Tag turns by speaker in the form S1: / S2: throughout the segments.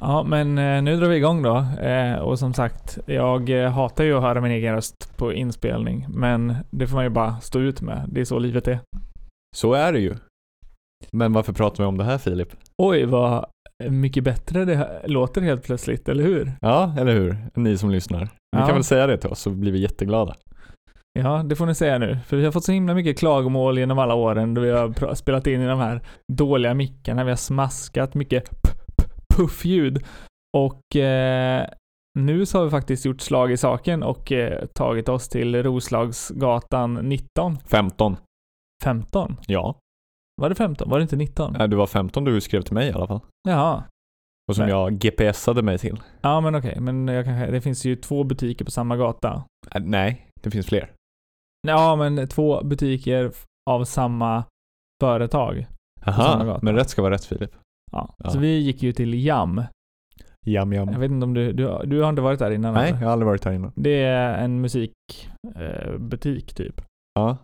S1: Ja, men eh, nu drar vi igång då. Eh, Och som sagt, jag eh, hatar ju att höra min egen röst på inspelning, men det får man ju bara stå ut med. Det är så livet är.
S2: Så är det ju. Men varför pratar vi om det här Filip?
S1: Oj, vad mycket bättre det här låter helt plötsligt, eller hur?
S2: Ja, eller hur? Ni som lyssnar. Ni
S1: Ja.
S2: kan väl säga det till oss så blir vi jätteglada.
S1: Ja, det får ni säga nu. För vi har fått så himla mycket klagomål genom alla åren då vi har pra- spelat in i de här dåliga mickarna. Vi har smaskat mycket p- p- puffljud. Och eh, nu så har vi faktiskt gjort slag i saken och eh, tagit oss till Roslagsgatan 19,
S2: 15.
S1: 15.
S2: Ja.
S1: Var det 15? Var det inte 19?
S2: Nej, Äh, Du var 15 du skrev till mig i alla fall.
S1: Jaha.
S2: Och som
S1: Nej.
S2: jag GPSade mig till.
S1: Ja, men okej. Men jag kanske, det finns ju två butiker på samma gata.
S2: Äh, Nej, det finns fler.
S1: Ja, men två butiker f- av samma företag. samma
S2: Aha,
S1: gata.
S2: men rätt ska vara rätt Filip.
S1: Ja.
S2: Ja.
S1: Så vi gick ju till Jam.
S2: Jam
S1: Jag
S2: jam.
S1: vet inte om du, du, du har inte varit där innan?
S2: Nej,
S1: eller?
S2: jag har aldrig varit här innan.
S1: Det är en musikbutik eh, butik, typ.
S2: Ja.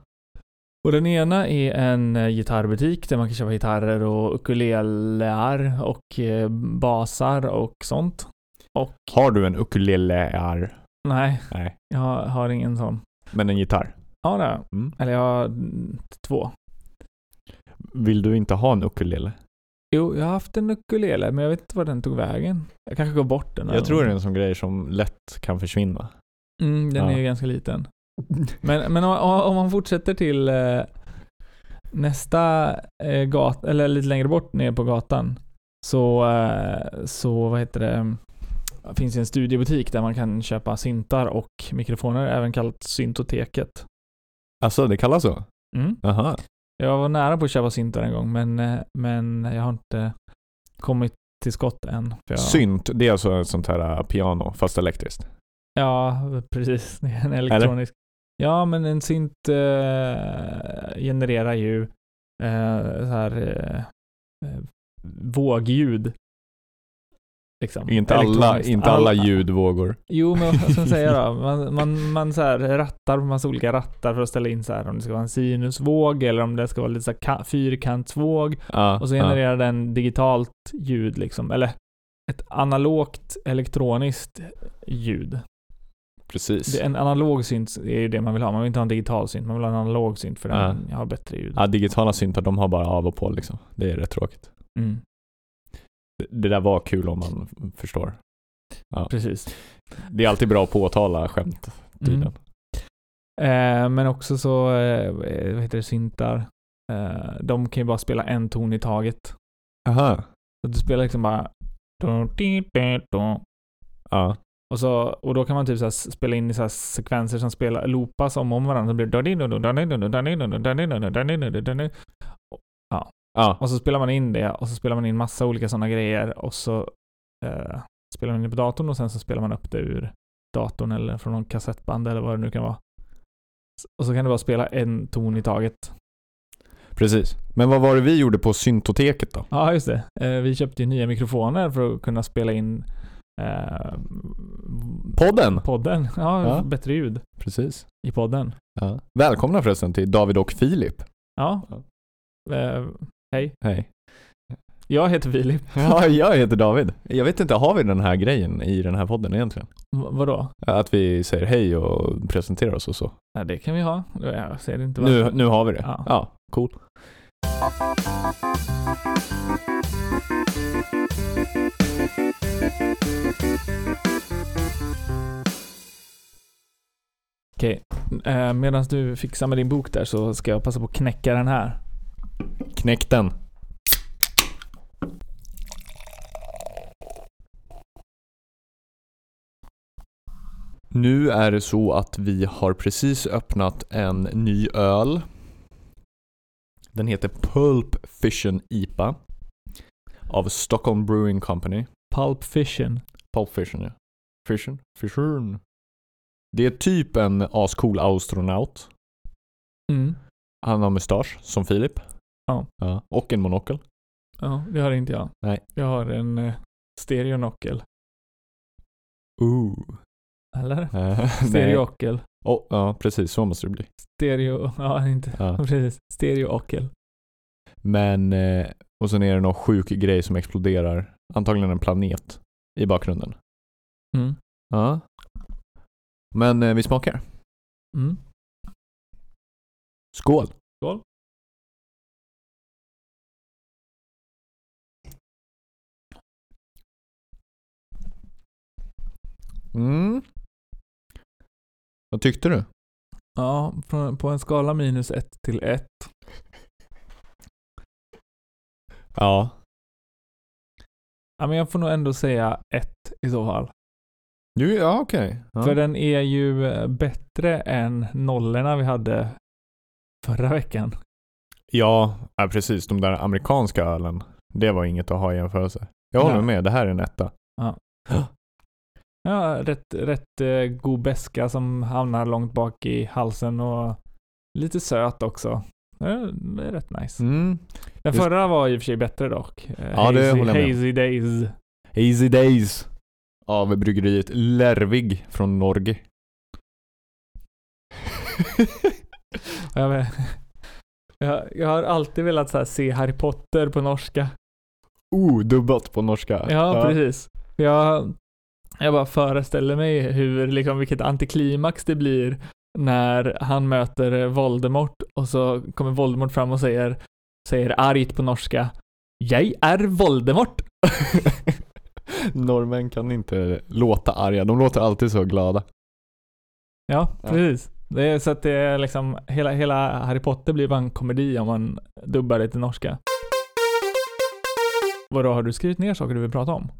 S1: Och den ena är en eh, gitarrbutik där man kan köpa gitarrer och ukulelar och eh, basar och sånt. Och
S2: Har du en ukulele?
S1: nej,
S2: Nej,
S1: jag har ingen sån.
S2: men en gitarr.
S1: Ja, det har jag.
S2: Mm.
S1: Eller jag har mm, två.
S2: Vill du inte ha en ukulele?
S1: Jo, jag har haft en ukulele, men jag vet inte var den tog vägen. Jag kanske går bort den.
S2: Jag tror det är en sån grej som lätt kan försvinna.
S1: Mm, den är
S2: Ja.
S1: ju ganska liten. Men, men om, om man fortsätter till eh, nästa eh, gata, eller lite längre bort ner på gatan, så, eh, så vad heter det, finns det en studiobutik där man kan köpa syntar och mikrofoner, även kallat syntoteket.
S2: Alltså, det kallas så?
S1: Mm.
S2: Aha.
S1: Jag var nära på att köpa syntar en gång, men, eh, men jag har inte kommit till skott än. för jag-
S2: Synt, det är alltså ett sånt här äh, piano, fast elektriskt.
S1: Ja, precis. Det är En elektronisk. Ja, men en synt eh, genererar ju eh, så här eh, eh, vågljud. Liksom.
S2: Inte alla,
S1: Elektroniskt.
S2: inte alla ljudvågor.
S1: Jo, men vad ska man säga då? Man, man, man så här rattar på massa olika rattar för att ställa in så här om det ska vara en sinusvåg eller om det ska vara lite så här ka- fyrkantsvåg.
S2: Ja,
S1: Och så
S2: ja.
S1: genererar den digitalt ljud liksom. Eller ett analogt elektroniskt ljud.
S2: Precis.
S1: Det, en analog synt är ju det man vill ha. Man vill inte ha en digital synt, man vill ha en analog synt för den har bättre ljud.
S2: Ja, digitala syntar, de har bara av och på liksom. Det är rätt tråkigt.
S1: Mm,
S2: Det- Det där var kul om man f- förstår.
S1: precis.
S2: Det är alltid bra att påtala skämt tydligen.
S1: Mm. Eh, men också så, eh, vad heter det, syntar. Eh, de kan ju bara spela en ton i taget.
S2: Aha.
S1: Så du spelar liksom bara
S2: Ja.
S1: och, så, och då kan man typ så här spela in i så här sekvenser som spelar, loopas om och om varandra. Så blir det
S2: Ja.
S1: Och så spelar man in det och så spelar man in massa olika sådana grejer och så eh, spelar man in det på datorn och sen så spelar man upp det ur datorn eller från någon kassettband eller vad det nu kan vara. S- Och så kan du bara spela en ton i taget.
S2: Precis. Men vad var det vi gjorde på syntoteket då?
S1: Ja, just det. Eh, vi köpte ju nya mikrofoner för att kunna spela in eh,
S2: Podden!
S1: podden. Ja,
S2: Ja.
S1: bättre ljud
S2: Precis.
S1: i podden.
S2: Ja. Välkomna förresten till David och Filip.
S1: Ja. Eh,
S2: Hej.
S1: jag heter Filip.
S2: Ja, jag heter David. Jag vet inte, har vi den här grejen i den här podden egentligen?
S1: V- vadå?
S2: Att vi säger hej och presenterar oss och så.
S1: Ja, det kan vi ha. Jag ser inte vad-
S2: Nu, nu har vi det.
S1: Ja.
S2: Ja, cool.
S1: Okej, eh, medan du fixar med din bok där så ska jag passa på att knäcka den här.
S2: Knäck den. Nu är det så att vi har precis öppnat en ny öl. Den heter Pulp Fission IPA av Stockholm Brewing Company.
S1: Pulp Fiction.
S2: Pulp Fission ja. Fission? Fission. Det är typ en ascool astronaut.
S1: Mm.
S2: Han har mustasch, som Filip.
S1: Ja.
S2: Och en monokel.
S1: Ja, det har inte jag.
S2: Nej.
S1: Jag har en eh, stereonokel.
S2: Ooh.
S1: Eller?
S2: Eh, nej.
S1: Stereokel.
S2: Oh, ja, precis. Så måste det bli.
S1: Stereo... Ja, inte...
S2: Ja.
S1: Precis. Stereokel.
S2: Men, eh, och sen är det någon sjuk grej som exploderar. Antagligen en planet. i bakgrunden.
S1: Mm.
S2: Ja. Men eh, vi smakar.
S1: Mm.
S2: Skål!
S1: Skål.
S2: Mm. Vad tyckte du?
S1: Ja, på, på en skala minus ett till ett.
S2: Ja.
S1: Ja, men jag får nog ändå säga ett i så fall.
S2: Du, ja okej.
S1: För
S2: Ja.
S1: den är ju eh, bättre än nollorna vi hade förra veckan.
S2: Ja, ja, precis. De där amerikanska ölen. Det var inget att ha i jämförelse. Jag håller
S1: Nej.
S2: med, det här är en etta.
S1: Ja, rätt, rätt eh, god beska som hamnar långt bak i halsen och lite söt också. Ja, Det är rätt nice.
S2: Mm.
S1: Den
S2: Just-
S1: förra var i och för sig bättre dock. Eh,
S2: Ja, det
S1: hazy,
S2: håller jag med
S1: Hazy Days.
S2: Easy Days. Av bryggeriet Lervig från Norge.
S1: Ja, Jag, vet- jag, jag har alltid velat så här se Harry Potter på norska.
S2: oh, dubbat på norska.
S1: Ja, precis. Jag, jag bara föreställer mig hur, liksom, vilket antiklimax det blir när han möter eh, Voldemort och så kommer Voldemort fram och säger, säger argt på norska Jag är Voldemort!
S2: Norrmän kan inte låta arga. De låter alltid så glada.
S1: Ja,
S2: Ja.
S1: precis. Det är, så att det är liksom, hela, hela Harry Potter blir bara en komedi om man dubbar det till norska. Vadå, har du skrivit ner saker du vill prata om?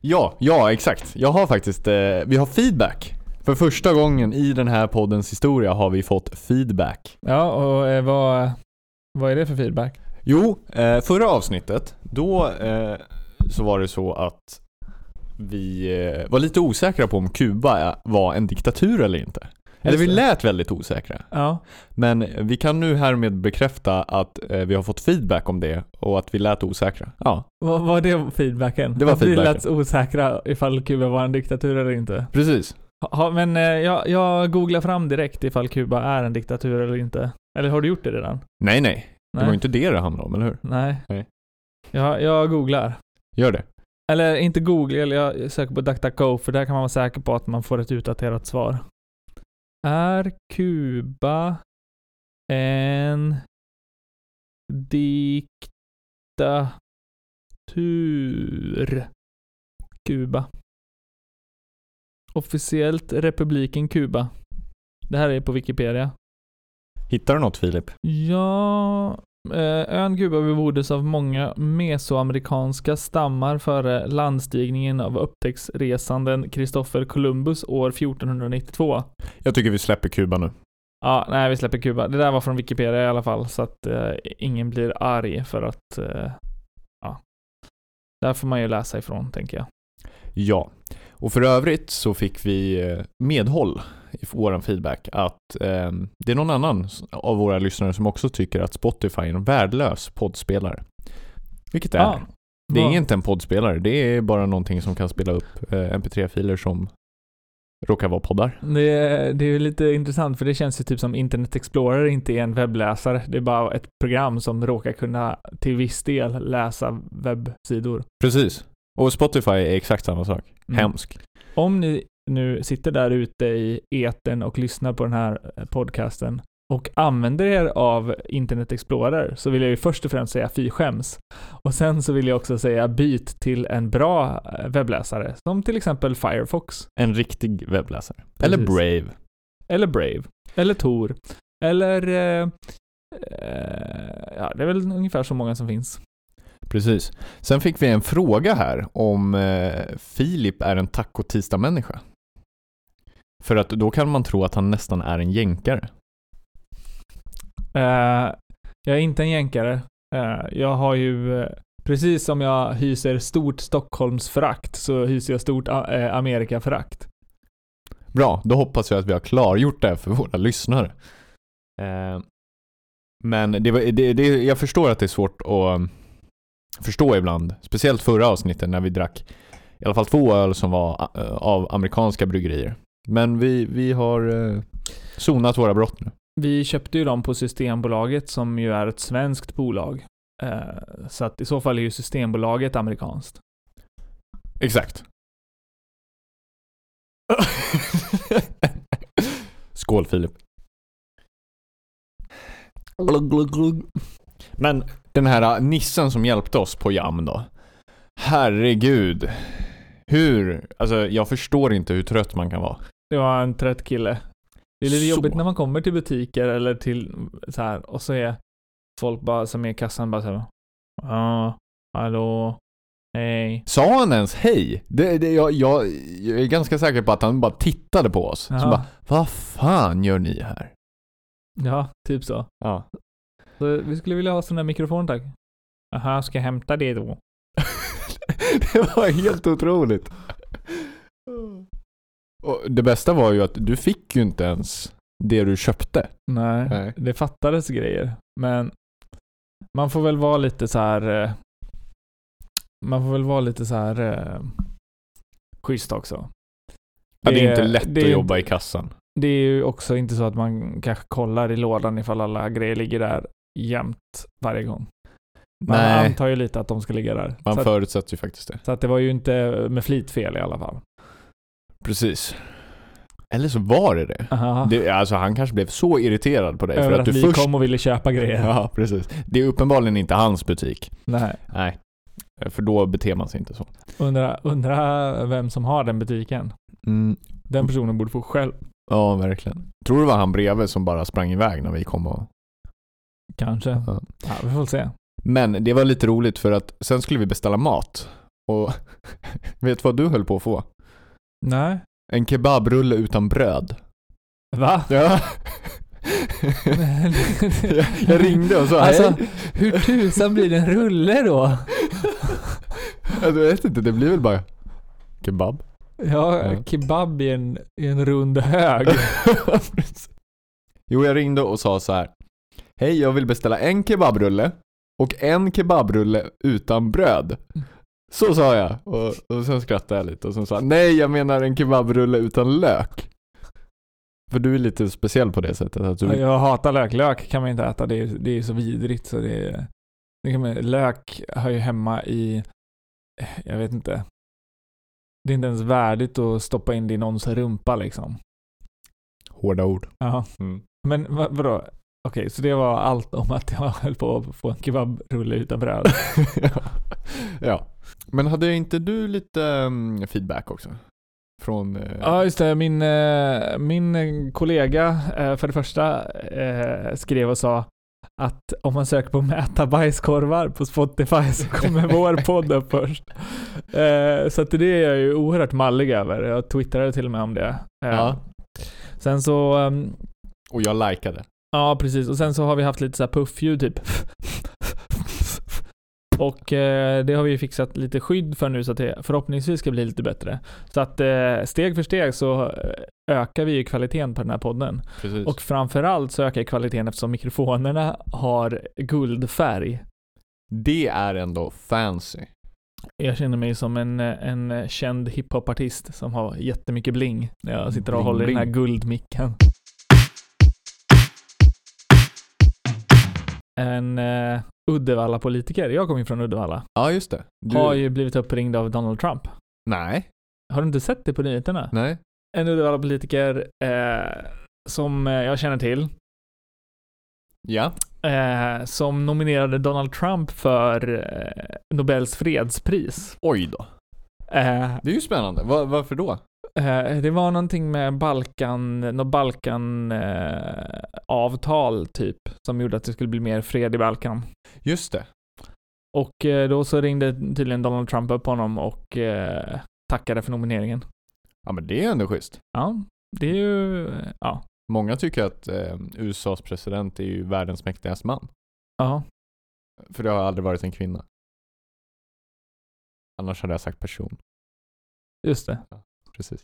S2: Ja, ja exakt. Jag har faktiskt, eh, vi har feedback. För första gången i den här poddens historia har vi fått feedback.
S1: Ja, och eh, vad, vad är det för feedback?
S2: Jo, eh, förra avsnittet, då eh, så var det så att vi eh, var lite osäkra på om Kuba eh, var en diktatur eller inte. Eller vi
S1: Just det.
S2: lät väldigt osäkra.
S1: Ja,
S2: Men vi kan nu härmed bekräfta att eh, vi har fått feedback om det och att vi lät osäkra. Ja,
S1: Vad var det feedbacken?
S2: Det var
S1: Att vi
S2: feedbacken.
S1: lät osäkra ifall Kuba var en diktatur eller inte.
S2: precis.
S1: Ja, men eh, jag, jag googlar fram direkt ifall Kuba är en diktatur eller inte. Eller har du gjort det redan?
S2: Nej, nej. Det
S1: Nej.
S2: var ju inte det det handlade om, eller hur?
S1: Nej.
S2: Nej.
S1: Jag, jag googlar.
S2: Gör det.
S1: Eller inte googlar, eller jag söker på DuckDuckGo för där kan man vara säker på att man får ett utdaterat svar. Är Kuba en diktatur? Kuba. Officiellt republiken Kuba. Det här är på Wikipedia.
S2: Hittar du något Filip?
S1: Ja, eh, ön Kuba beboddes av många mesoamerikanska stammar före landstigningen av upptäcktsresanden Kristoffer Columbus år 1492.
S2: Jag tycker vi släpper Kuba nu.
S1: Ja, nej vi släpper Kuba. Det där var från Wikipedia i alla fall, så att eh, ingen blir arg för att, eh, ja. Där får man ju läsa ifrån, tänker jag.
S2: Ja. Och för övrigt så fick vi eh, medhåll i våran feedback att eh, det är någon annan s- av våra lyssnare som också tycker att Spotify är en värdelös poddspelare. Vilket det är.
S1: Ja,
S2: det är
S1: Ah, vad-
S2: inte en poddspelare, det är bara någonting som kan spela upp eh, mp3-filer som råkar vara poddar.
S1: Det, är- det är ju lite intressant för det känns ju typ som Internet Explorer inte är en webbläsare. Det är bara ett program som råkar kunna till viss del läsa webbsidor.
S2: Precis. Och Spotify är exakt samma sak.
S1: Mm.
S2: Hemsk.
S1: Om ni nu sitter där ute i etern och lyssnar på den här eh, podcasten och använder er av Internet Explorer så vill jag ju först och främst säga fy skäms. Och sen så vill jag också säga byt till en bra eh, webbläsare som till exempel Firefox
S2: En riktig webbläsare. Eller
S1: Precis.
S2: Brave.
S1: eller Brave eller Tor eller eh, eh, ja, det är väl ungefär så många som finns.
S2: Precis. Sen fick vi en fråga här om eh, Filip är en taco-tisdag-människa. För att då kan man tro att han nästan är en jänkare.
S1: Eh, jag är inte en jänkare. Eh, jag har ju, eh, precis som jag hyser stort Stockholmsförakt, så hyser jag stort A- eh, Amerikaförakt.
S2: Bra, då hoppas jag att vi har klargjort det här för våra lyssnare. Eh, men det, var- det, det, jag förstår att det är svårt att förstå ibland. Speciellt förra avsnittet när vi drack i alla fall två öl som var eh, av amerikanska bryggerier. Men vi, vi har eh, sonat våra brott nu.
S1: Vi köpte ju dem på Systembolaget som ju är ett svenskt bolag. Eh, så att i så fall är ju Systembolaget amerikanskt.
S2: Exakt. Skål Filip. Glug, glug, glug. Men den här äh, nissen som hjälpte oss på jam då. Herregud. Hur? Alltså jag förstår inte hur trött man kan vara.
S1: Det var en trött kille. Det är lite
S2: Så.
S1: jobbigt när man kommer till butiker eller till så här och så är folk bara som är i kassan bara så här. Ja, hallå, hej.
S2: Sa han ens hej? Det, det, jag, jag, jag är ganska säker på att han bara tittade på oss. Så
S1: Ja.
S2: bara, vad fan gör ni här?
S1: Ja, typ så.
S2: Ja.
S1: så. Vi skulle vilja ha sån där mikrofon tack. Jaha, ska jag hämta det då?
S2: det var helt otroligt. Och det bästa var ju att du fick ju inte ens det du köpte.
S1: Nej.
S2: Nej.
S1: det fattades grejer. Men man får väl vara lite så här. eh, Man får väl vara lite så här eh, schysst också.
S2: Ja, det är inte lätt
S1: det är
S2: att
S1: inte-
S2: jobba i kassan.
S1: Det är ju också inte så att man kanske kollar i lådan ifall alla grejer ligger där jämt varje gång. Man
S2: Nej.
S1: antar ju lite att de ska ligga där.
S2: Man
S1: så, att,
S2: förutsätter ju faktiskt det.
S1: så att det var ju inte med flit fel i alla fall.
S2: Precis. Eller så var det det.
S1: Aha.
S2: det alltså han kanske blev så irriterad på dig
S1: Ah. Över
S2: för
S1: att,
S2: att,
S1: vi
S2: du först...
S1: kom och ville köpa grejer.
S2: Ja, precis. Det är uppenbarligen inte hans butik.
S1: Nej.
S2: Nej. För då beter man sig inte så.
S1: Undra, undra vem som har den butiken. Den personen borde få själv.
S2: Mm. Ja, verkligen. Tror du det var han bredvid som bara sprang iväg när vi kom och...
S1: Kanske.
S2: Ja.
S1: Ja, vi får väl se.
S2: Men det var lite roligt för att sen skulle vi beställa mat. Och vet du vad du höll på att få?
S1: Nej.
S2: En kebabrulle utan bröd.
S1: Va?
S2: Ja. jag, jag ringde och sa
S1: Alltså-
S2: hej.
S1: Hur tusan blir det en rulle då?
S2: Alltså, jag vet inte, det blir väl bara kebab.
S1: Ja,
S2: Ja.
S1: kebab i en, i en rund hög.
S2: jo, jag ringde och sa så här. Hej, jag vill beställa en kebabrulle och en kebabrulle utan bröd. Så sa jag och, och sen skrattade jag lite och sen sa han, nej jag menar en kebabrulle utan lök. För du är lite speciell på det sättet att du
S1: Ja,
S2: vill...
S1: Jag hatar lök. Lök kan man inte äta. Det är, det är så vidrigt. Så det är, det kan man, lök hör ju hemma i... Jag vet inte. Det är inte ens värdigt att stoppa in det i någons rumpa liksom.
S2: Hårda ord.
S1: Ja. Men vad, vadå? Okej, så det var allt om att jag höll på att få en kebabrulle utan bröd.
S2: ja. Men hade inte du lite mm, feedback också? Från... eh,
S1: Ja, just det. Min, eh, min eh, kollega, eh, för det första, eh, skrev och sa att om man söker på mäta bajskorvar på Spotify så kommer vår podd upp först. Eh, så att det är jag ju oerhört mallig över. Jag twittrade till och med om det. Eh,
S2: Ja.
S1: Sen så, ehm,
S2: Och jag likade.
S1: ja precis. Och sen så har vi haft lite så här puffljud typ. Och eh, det har vi ju fixat lite skydd för nu så att det förhoppningsvis ska bli lite bättre. Så att eh, steg för steg så eh, ökar vi ju kvaliteten på den här podden.
S2: Precis.
S1: Och framförallt så ökar kvaliteten eftersom mikrofonerna har guldfärg.
S2: Det är ändå fancy.
S1: Jag känner mig som en, eh, en känd hiphopartist som har jättemycket bling när jag sitter och
S2: Bling,
S1: håller i den här
S2: bling.
S1: guldmicken. En eh, Uddevalla-politiker, jag kommer ju från Uddevalla,
S2: Ja, just det. Du...
S1: har ju blivit uppringd av Donald Trump.
S2: Nej.
S1: Har du inte sett det på nyheterna?
S2: Nej.
S1: en Uddevalla-politiker eh, som eh, jag känner till.
S2: Ja.
S1: Eh, som nominerade Donald Trump för eh, Nobels fredspris.
S2: Oj då.
S1: Eh,
S2: Det är ju spännande. Va- varför då?
S1: eh, det var någonting med Balkan, något Balkan eh, avtal typ, som gjorde att det skulle bli mer fred i Balkan.
S2: Just det.
S1: Och eh, då så ringde tydligen Donald Trump upp honom och eh, tackade för nomineringen.
S2: Ja, men det är ändå schysst.
S1: Ja, det är ju, ja,
S2: Många tycker att eh, USAs president är ju världens mäktigaste man.
S1: ja.
S2: För det har aldrig varit en kvinna. Annars hade jag sagt person.
S1: Just det.
S2: Precis.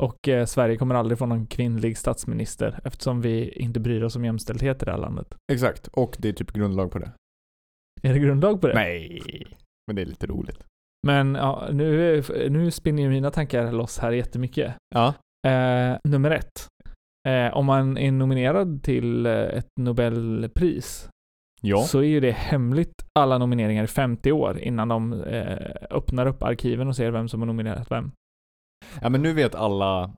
S1: Och eh, Sverige kommer aldrig få någon kvinnlig statsminister eftersom vi inte bryr oss om jämställdhet i det här landet.
S2: Exakt. Och det är typ grundlag på det.
S1: Är det grundlag på det?
S2: Nej. Men det är lite roligt.
S1: Men ja, nu, nu spinner ju mina tankar loss här jättemycket.
S2: Ja.
S1: Eh, nummer ett. Eh, om man är nominerad till eh, ett Nobelpris
S2: Ja.
S1: så är ju det hemligt alla nomineringar i 50 år innan de eh, öppnar upp arkiven och ser vem som har nominerat vem.
S2: ja men nu vet alla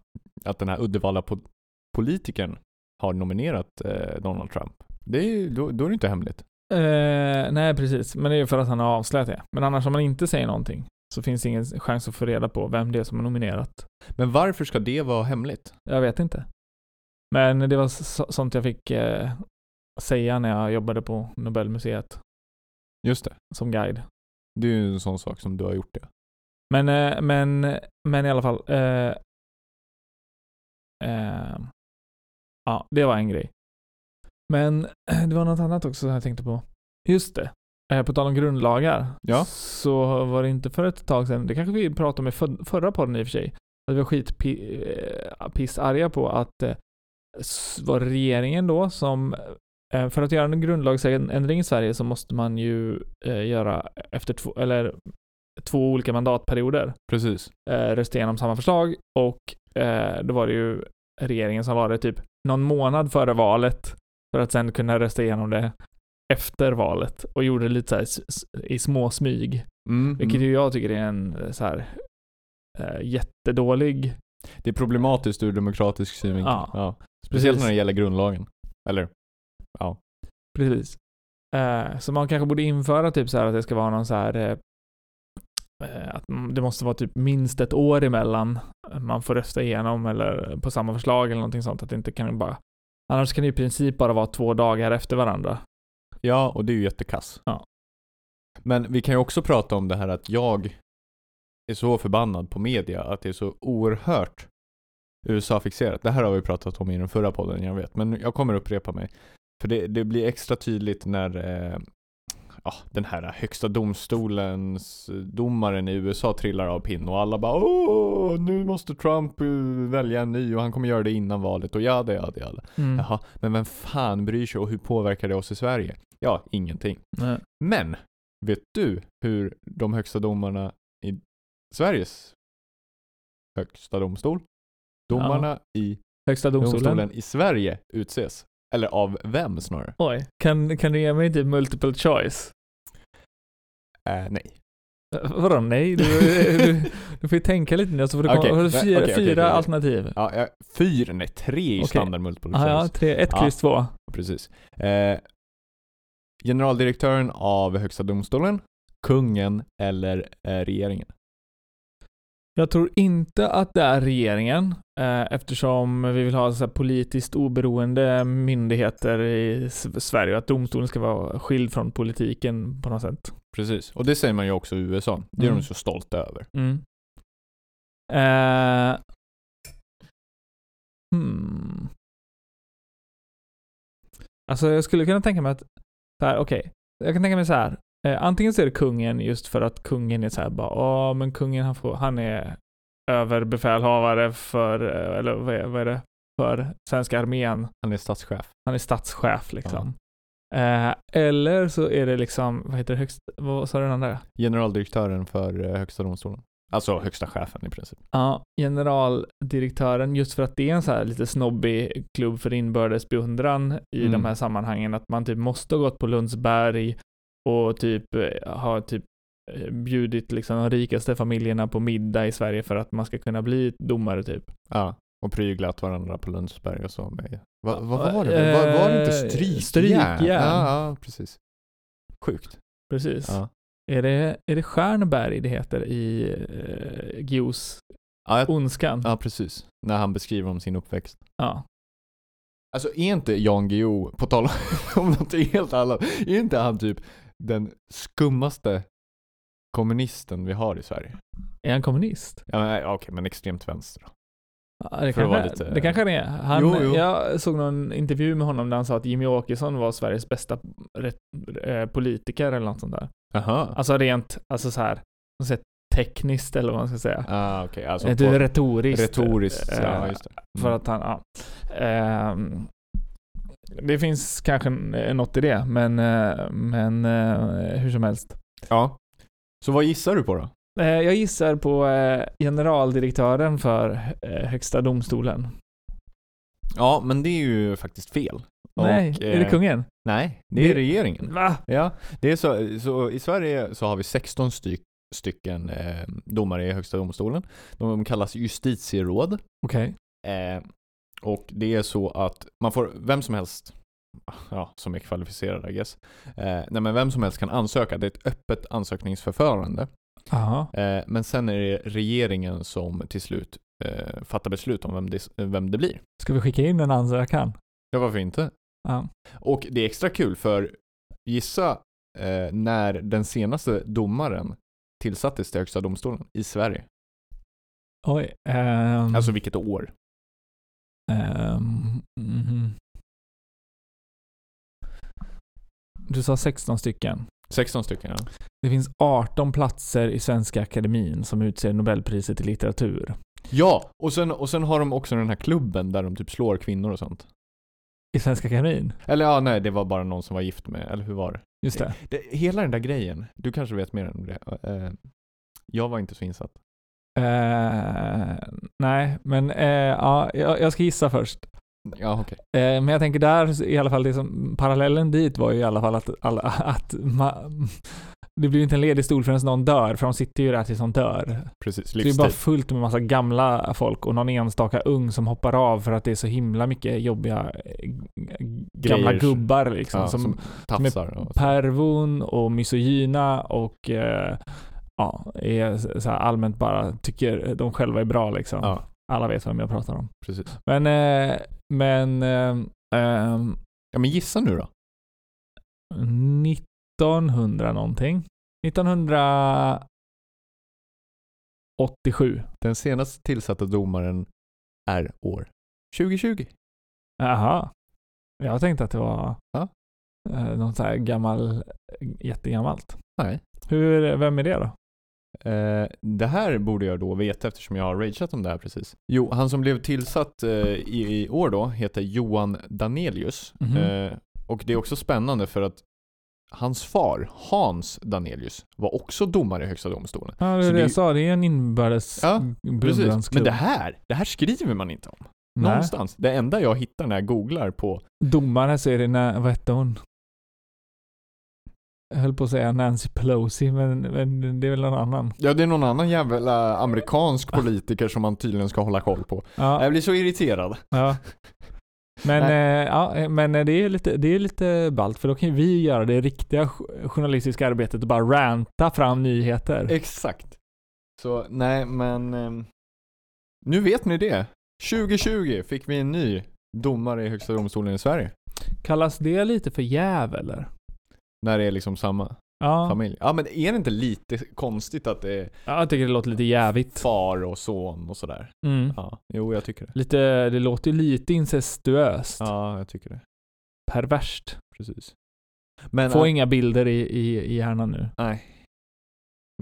S2: att den här Uddevalla-politikern har nominerat eh, Donald Trump. Det är, ju- då, då är det inte hemligt.
S1: Eh, nej, precis. Men det är ju för att han har avslöjat det. Men annars om man inte säger någonting så finns det ingen chans att få reda på vem det är som har nominerat.
S2: Men varför ska det vara hemligt?
S1: Jag vet inte. Men det var s- sånt jag fick eh, säga när jag jobbade på Nobelmuseet
S2: Just det.
S1: som guide.
S2: Det är ju en sån sak som du har gjort det.
S1: Men, eh, men, men i alla fall. Eh, eh, ja, det var en grej. Men det var något annat också som jag tänkte på. Just det. Eh, på tal om grundlagar.
S2: Ja.
S1: Så var det inte för ett tag sedan, det kanske vi pratade om i för, förra podden i och för sig, att vi var skitpissarga på att eh, s- var regeringen då som eh, för att göra en grundlagsändring i Sverige så måste man ju eh, göra efter två, eller två olika mandatperioder
S2: Precis.
S1: eh, rösta igenom samma förslag och eh, då var det ju regeringen som var det typ någon månad före valet för att sen kunna rösta igenom det efter valet och gjorde det lite så här s- s- i små smyg,
S2: Mm.
S1: vilket ju jag tycker är en eh, så här eh, jättedålig
S2: Det är problematiskt ur demokratisk synvinkel.
S1: Ja.
S2: Speciellt
S1: Precis.
S2: när det gäller grundlagen. Eller? Ja.
S1: Precis. Eh, så man kanske borde införa typ så här att det ska vara någon så här eh, eh, att m- det måste vara typ minst ett år emellan man får rösta igenom eller på samma förslag eller någonting sånt. Att det inte kan bara Annars kan det i princip bara vara två dagar efter varandra.
S2: Ja, och det är ju jättekass.
S1: Ja.
S2: Men vi kan ju också prata om det här att jag är så förbannad på media, att det är så oerhört USA-fixerat. Det här har vi pratat om i den förra podden, jag vet, men jag kommer upprepa mig. För det, det blir extra tydligt när eh, ja, den här högsta domstolens domaren i USA trillar av pinn och alla bara åh, nu måste Trump eh, välja en ny och han kommer göra det innan valet och jada, jada, jada.
S1: Mm.
S2: Jaha, men vem fan bryr sig och hur påverkar det oss i Sverige? Ja, ingenting.
S1: Nej.
S2: Men, vet du hur de högsta domarna i Sveriges högsta domstol, domarna i
S1: Högsta domstolen.
S2: domstolen. i Sverige utses? Eller av vem snarare?
S1: Oj, kan, kan du ge mig typ multiple choice?
S2: Eh, nej.
S1: Eh, Vadå nej? Du, du, du får ju tänka lite nu så får du komma,
S2: Okej,
S1: har du
S2: nej,
S1: fyra,
S2: okej, okej,
S1: fyra
S2: okej. Mm,
S1: alternativ.
S2: Ja, jag- fyra, nej tre i
S1: Okej.
S2: standard multiple
S1: Ah, ja,
S2: choice.
S1: tre, ett,
S2: Ja.
S1: kryss, två.
S2: Precis. Eh, generaldirektören av högsta domstolen, kungen eller eh, regeringen?
S1: Jag tror inte att det är regeringen eh, eftersom vi vill ha så här politiskt oberoende myndigheter i S- Sverige och att domstolen ska vara skild från politiken på något sätt.
S2: Precis, och det säger man ju också i USA. Det är
S1: Mm.
S2: de så stolta över.
S1: Mm. Eh, hmm. Alltså jag skulle kunna tänka mig att, så här, okej, jag kan tänka mig så här. Eh, antingen så är det kungen just för att kungen är så här bara, ja men kungen han, får, han är överbefälhavare för, eh, eller vad är, vad är det, för svenska armén.
S2: Han är statschef.
S1: Han är statschef liksom. Eh, eller så är det liksom, vad heter det högst, vad sa du den andra?
S2: Generaldirektören för eh, högsta domstolen. Alltså högsta chefen i princip.
S1: Ja, generaldirektören, just för att det är en så här lite snobbig klubb för inbördes beundran i
S2: Mm.
S1: de här sammanhangen, att man typ måste ha gått på Lundsberg och typ eh, ha typ eh, bjudit liksom de rikaste familjerna på middag i Sverige för att man ska kunna bli domare typ.
S2: Ja. Och pryglat varandra på Lundsberg och så med. Va, vad var det? Var, var det inte
S1: Eh,
S2: strykjärn?
S1: strykjärn.
S2: Ja, ja, precis. Sjukt.
S1: Precis.
S2: Ja.
S1: Är, det, är det Stjärnberg det heter i eh, Guios
S2: Ja, jag,
S1: Ondskan?
S2: ja, precis. När han beskriver om sin uppväxt.
S1: Ja.
S2: Alltså är inte Jan Guillou, på tal om något helt annat, är inte han typ den skummaste kommunisten vi har i Sverige?
S1: Är han kommunist?
S2: Ja, men, Okej, men extremt vänster.
S1: Ja, det,
S2: För att
S1: kanske,
S2: vara lite-
S1: det kanske det är. Han,
S2: Jo, jo.
S1: Jag såg någon intervju med honom där han sa att Jimmy Åkesson var Sveriges bästa re- eh, politiker eller något sånt där.
S2: Jaha.
S1: Alltså rent, alltså så här, så här tekniskt eller vad man ska säga.
S2: Ah, okej. Alltså
S1: Eh, typ
S2: på-
S1: retoriskt.
S2: retoriskt.
S1: Eh,
S2: ja, just det. Mm.
S1: För att han, ja. Ehm, det finns kanske n- eh, något i det, men, eh, men eh, hur som helst.
S2: ja. Så vad gissar du på då?
S1: Eh, Jag gissar på eh, generaldirektören för eh, Högsta domstolen.
S2: Ja, men det är ju faktiskt fel.
S1: Nej,
S2: Och,
S1: är det
S2: eh,
S1: kungen?
S2: Nej, det är
S1: Det-
S2: regeringen.
S1: Va?
S2: Ja, det är så, så i Sverige så har vi 16 styck, stycken eh, domare i Högsta domstolen. De kallas justitieråd.
S1: Okej.
S2: Eh, och det är så att man får, vem som helst, ja, som är kvalificerad I guess, eh, nej men vem som helst kan ansöka. Det är ett öppet ansökningsförfarande.
S1: Jaha.
S2: Eh, men sen är det regeringen som till slut eh, fattar beslut om vem det, vem det blir.
S1: Ska vi skicka in en ansökan?
S2: Ja, varför inte?
S1: Ja.
S2: Och det är extra kul för gissa eh, när den senaste domaren tillsattes till Högsta domstolen i Sverige.
S1: Mm. Oj. ehm,
S2: Alltså vilket år?
S1: ehm, mhm. Du sa 16 stycken.
S2: 16 stycken ja.
S1: Det finns 18 platser i Svenska Akademin som utser Nobelpriset i litteratur.
S2: Ja, och sen, och sen har de också den här klubben där de typ slår kvinnor och sånt.
S1: I Svenska Akademin?
S2: Eller ja, nej, det var bara någon som var gift med, eller hur var det?
S1: Just det.
S2: det hela den där grejen, du kanske vet mer om det. Eh, jag var inte så insatt.
S1: Eh, nej, men eh, ja, jag, jag ska gissa först.
S2: Ja, okej.
S1: Eh, men jag tänker där, i alla fall, det som, parallellen dit var ju i alla fall att, alla, att ma, det blir ju inte en ledig stol förrän någon dör, för de sitter ju där tills de dör.
S2: Precis,
S1: Så det är
S2: livstid.
S1: bara fullt med massa gamla folk och någon enstaka ung som hoppar av för att det är så himla mycket jobbiga eh, g- gamla
S2: Grejer.
S1: gubbar liksom.
S2: ja,
S1: som
S2: som, tafsar. Och så.
S1: pervon och misogyna och eh, ja, är så så här allmänt bara tycker de själva är bra liksom.
S2: Ja,
S1: Alla vet vem jag pratar om.
S2: precis.
S1: Men, eh, men eh, ehm,
S2: Ja, men gissa nu då.
S1: 1900 någonting. 1987.
S2: Den senast tillsatta domaren är år 2020.
S1: Jaha. Jag tänkte att det var
S2: Ja.
S1: eh, något så här gammal, jättegammalt.
S2: Nej.
S1: Hur, vem är det då?
S2: Eh, det här borde jag då veta eftersom jag har rageat om det här precis. Jo, han som blev tillsatt eh, i, i år då heter Johan Danelius.
S1: Mhm.
S2: Eh, och det är också spännande för att hans far, Hans Danelius, var också domare i Högsta domstolen.
S1: Ja, det var
S2: Så
S1: det
S2: det-
S1: jag sa, det är en inbördes
S2: Ja, Precis.
S1: beundransklubb.
S2: Men det här, det här skriver man inte om.
S1: Nej.
S2: Någonstans. Det enda jag hittar när jag googlar på
S1: Domare så är det, när, vad hette hon? Jag höll på att säga Nancy Pelosi, men, men det är väl någon annan.
S2: Ja, det är någon annan jävla amerikansk politiker som man tydligen ska hålla koll på.
S1: Ja,
S2: Jag blir så irriterad.
S1: ja. Men,
S2: Nej.
S1: eh, ja, eh, men eh, det är lite, det är lite ballt, för då kan ju vi göra det riktiga jo- journalistiska arbetet och bara ranta fram nyheter.
S2: Exakt. Så nej, men ehm, nu vet ni det. 2020 fick vi en ny domare i Högsta domstolen i Sverige.
S1: Kallas det lite för jäv eller?
S2: När det är liksom samma
S1: Ja,
S2: familj. Ja, men är det inte lite konstigt att det är
S1: Ja, jag tycker det låter lite jävigt.
S2: far och son och sådär?
S1: Mm.
S2: Ja, jo, jag tycker det.
S1: Lite, det låter ju lite incestuöst.
S2: Ja, jag tycker det.
S1: Perverst.
S2: Precis. Men,
S1: Få
S2: att-
S1: inga bilder i, i, i hjärnan nu.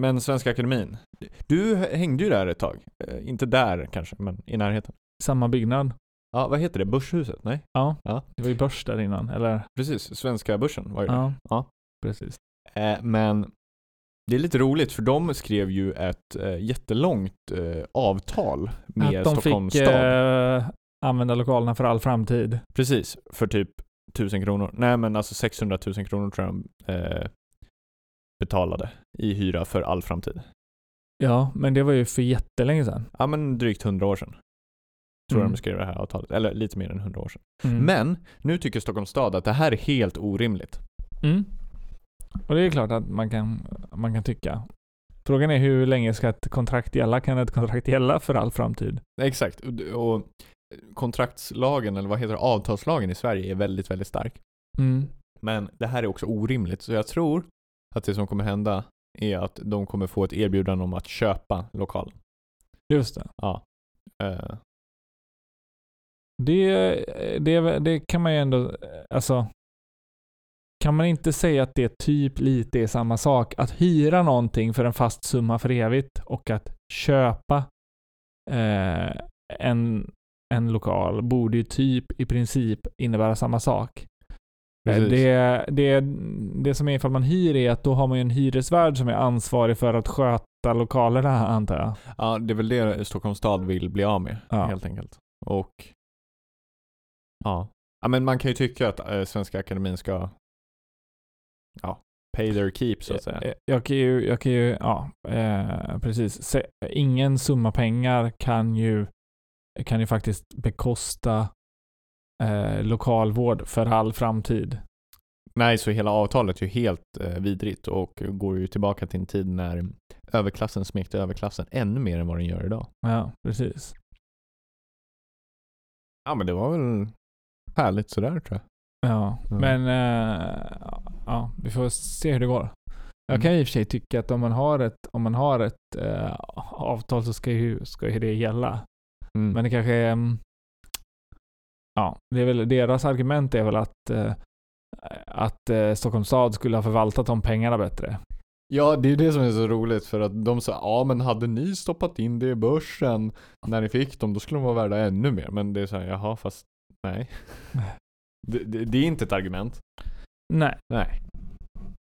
S2: men Svenska Akademin. Du hängde ju där ett tag. Eh, inte där kanske, men i närheten.
S1: Samma byggnad.
S2: Ja, vad heter det? Börshuset? Nej,
S1: Det var ju börs där innan, eller?
S2: precis. Svenska börsen var ju det.
S1: Ja.
S2: Ja.
S1: Precis.
S2: Eh, men det är lite roligt för de skrev ju ett eh, jättelångt eh, avtal med
S1: Att de
S2: Stockholms
S1: fick
S2: stad.
S1: eh, använda lokalerna för all framtid.
S2: Precis, för typ 1000 kronor. Nej men alltså 600 000 kronor tror jag de eh, betalade i hyra för all framtid.
S1: Ja, men det var ju för jättelänge sedan.
S2: Ja men drygt 100 år sedan. Tror jag
S1: Mm.
S2: de skrev det här avtalet. Eller lite mer än 100 år sedan.
S1: Mm.
S2: Men nu tycker Stockholms stad att det här är helt orimligt.
S1: Mm. Och det är klart att man kan, man kan tycka. Frågan är hur länge ska ett kontrakt gälla? Kan ett kontrakt gälla för all framtid?
S2: Exakt. Och, och kontraktslagen, eller vad heter det, avtalslagen i Sverige är väldigt, väldigt stark.
S1: Mm.
S2: Men det här är också orimligt, så jag tror att det som kommer hända är att de kommer få ett erbjudande om att köpa lokalen.
S1: Just det.
S2: Eh,
S1: Det, eh, det. Det kan man ju ändå, alltså. Kan man inte säga att det typ lite är samma sak? Att hyra någonting för en fast summa för evigt och att köpa eh, en, en lokal borde ju typ i princip innebära samma sak. Eh,
S2: Precis.
S1: Det, det, det som är ifall man hyr är att då har man ju en hyresvärd som är ansvarig för att sköta lokalerna antar jag.
S2: ja, det är väl det Stockholms stad vill bli av med,
S1: Ja.
S2: helt enkelt. Och... Ja. ja. men man kan ju tycka att eh, Svenska Akademin ska... Ja, pay their keep, så att säga.
S1: Eh, Jag kan ju, jag kan ju ja, eh, precis. Se, ingen summa pengar kan ju kan ju faktiskt bekosta eh, lokalvård för all framtid.
S2: Nej, så hela avtalet är ju helt eh, vidrigt och går ju tillbaka till en tid när överklassen smekte överklassen ännu mer än vad den gör idag.
S1: Ja, precis.
S2: Ja, men det var väl härligt sådär tror jag.
S1: Ja,
S2: Mm.
S1: men eh, ja, vi får se hur det går. Jag kan
S2: Mm.
S1: i och för sig tycka att om man har ett, om man har ett eh, avtal så ska ju, ska ju det gälla.
S2: Mm.
S1: Men det kanske är... mm, Ja, det är väl, deras argument är väl att, eh, att eh, Stockholms stad skulle ha förvaltat de pengarna bättre.
S2: Ja, det är ju det som är så roligt för att de sa ja men hade ni stoppat in det i börsen när ni fick dem då skulle de vara värda ännu mer. Men det är så här, jaha fast nej. Det, det, det är inte ett argument.
S1: Nej,
S2: Nej.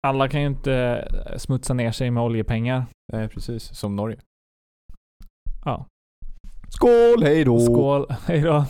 S1: alla kan ju inte eh, smutsa ner sig med oljepengar.
S2: Nej precis, som Norge.
S1: Ja.
S2: Skål, hej då!
S1: Skål, hejdå.